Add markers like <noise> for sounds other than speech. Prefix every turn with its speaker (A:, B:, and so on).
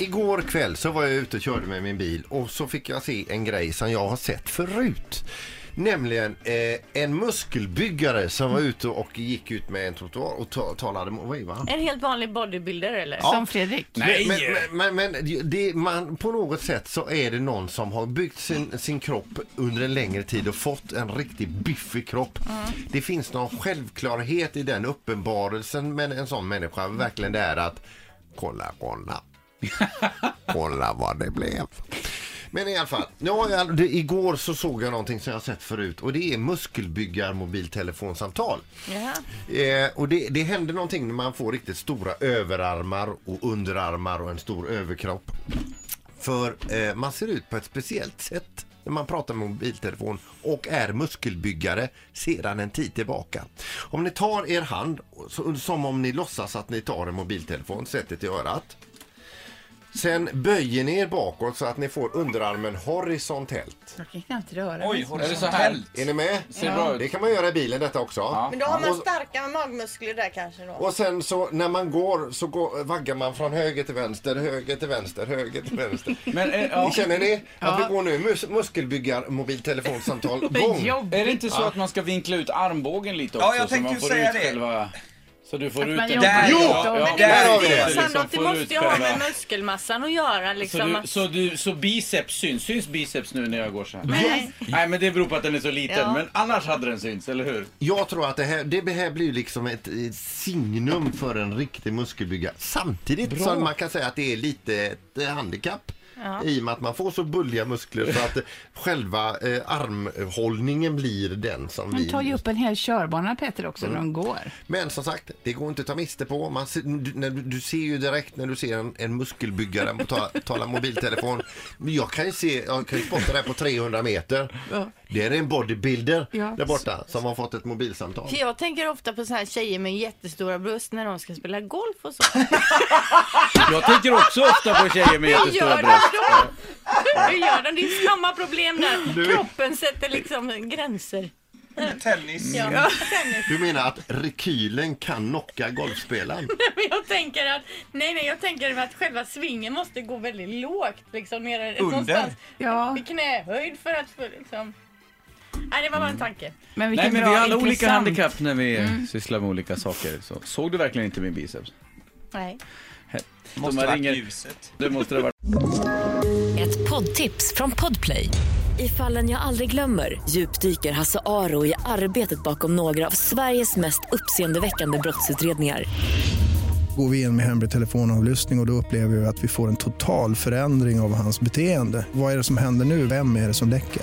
A: Igår kväll så var jag ute och körde med min bil och så fick jag se en grej som jag har sett förut. Nämligen eh, en muskelbyggare som var ute och gick ut med en trottoar och ta- talade... mo- Vad är det, va?
B: En helt vanlig bodybuilder eller?
C: Som Fredrik.
D: Nej!
A: Men, men, men, men det, man, på något sätt så är det någon som har byggt sin, sin kropp under en längre tid och fått en riktigt biffig kropp. Det finns någon självklarhet i den uppenbarelsen med en sån människa. Verkligen det är att kolla, kolla. Kolla vad det blev. Men i alla fall, nu har jag, det, igår så såg jag någonting som jag sett förut och det är muskelbyggarmobiltelefonsamtal.
B: Jaha.
A: Eh, och det, det händer någonting när man får riktigt stora överarmar och underarmar och en stor överkropp. För eh, man ser ut på ett speciellt sätt när man pratar med mobiltelefon och är muskelbyggare sedan en tid tillbaka. Om ni tar er hand, så, som om ni låtsas att ni tar en mobiltelefon, sätter till örat. Sen böjer ni er bakåt så att ni får underarmen horisontellt.
C: Jag kan knappt röra
D: Oj,
C: mig.
D: är det så här?
A: Är ni med?
D: Ser bra
A: Det
D: ut.
A: kan man göra i bilen detta också.
D: Ja.
E: Men då har man
A: Och-
E: starka magmuskler där kanske då.
A: Och sen så när man går så går, vaggar man från höger till vänster, höger till vänster, höger till
C: <laughs>
A: vänster.
D: Men eh,
F: <laughs>
D: ja.
A: Känner ni att
C: Ja.
A: vi går nu mus- muskelbyggar
C: <laughs>
A: mobiltelefonsamtal gång?
C: Men jobb!
D: Är det inte så att man ska vinkla ut armbågen lite också?
F: Ja, jag
D: så
F: tänkte
D: man
F: ju
D: får
F: säga
D: ut
F: det.
D: Själva... Så du får
C: Att
D: ut
C: man
D: den.
C: jobbar
B: Ja, men
C: lite. Men
F: Där, ja,
D: ja,
B: det,
F: där
B: är
A: har
B: ju
A: vi det.
B: så,
D: Liksom
B: Sandra, att det
D: får du ut
B: måste ju ha
D: själva-
B: med muskelmassan att göra
D: Så,
B: liksom.
D: du,
B: att-
D: så, du, så biceps syns? Syns biceps nu när jag går så här?
C: Nej.
D: Nej, men det beror på att den är så liten.
B: Ja.
D: Men annars hade den synts, eller hur?
A: Jag tror att det här, det här blir liksom ett eh, signum för en riktig muskelbyggare. Samtidigt som man kan säga att det är lite ett eh, handikapp. I och med att man får så bulliga muskler så att
C: <laughs>
A: eh, själva eh, armhållningen blir den som
C: Man
A: vi...
C: tar ju upp en hel körbana Peter också när de går.
A: Men som sagt, det går inte att ta miste på. Man ser, du, när, du- du ser ju direkt när du ser en, en muskelbyggare på tala, tala mobiltelefon. Men Jag kan ju se, jag kan ju spotta det här på 300 meter. Det är en bodybuilder
C: Ja.
A: där borta som har fått ett mobilsamtal.
B: För Jag tänker ofta på så här tjejer med jättestora bröst när de ska spela golf och så.
D: <laughs>
B: <laughs>
D: Jag tänker också ofta på tjejer <laughs> med
B: Hur
D: jättestora
B: gör de
D: bröst. <laughs>
B: då? Hur gör de? Det är samma problem där. Kroppen sätter liksom gränser.
F: Tennis.
D: Mm.
B: Ja.
A: Du menar att rekylen kan knocka golfspelaren?
B: <laughs> Men jag tänker att, nej nej jag tänker att själva svingen måste gå väldigt lågt liksom ner
F: Under.
B: någonstans
C: Ja,
B: i knähöjd för att få liksom. Nej det var bara en tanke.
C: men vilken
D: Nej, men
C: bra,
D: vi har alla olika
C: intressant.
D: handikapp när vi sysslar med olika saker. Så, såg du verkligen inte min biceps?
B: Nej.
D: De
F: Måste
D: här
F: vara
D: ringer-
F: ljuset.
D: Det måste det ha varit.
G: Ett poddtips från Podplay. I fallen jag aldrig glömmer djupdyker Hasse Aro i arbetet bakom några av Sveriges mest uppseendeväckande brottsutredningar.
H: Går vi in med hemlig telefonavlyssning och, och då upplever vi att vi får en total förändring av hans beteende. Vad är det som händer nu? Vem är det som läcker?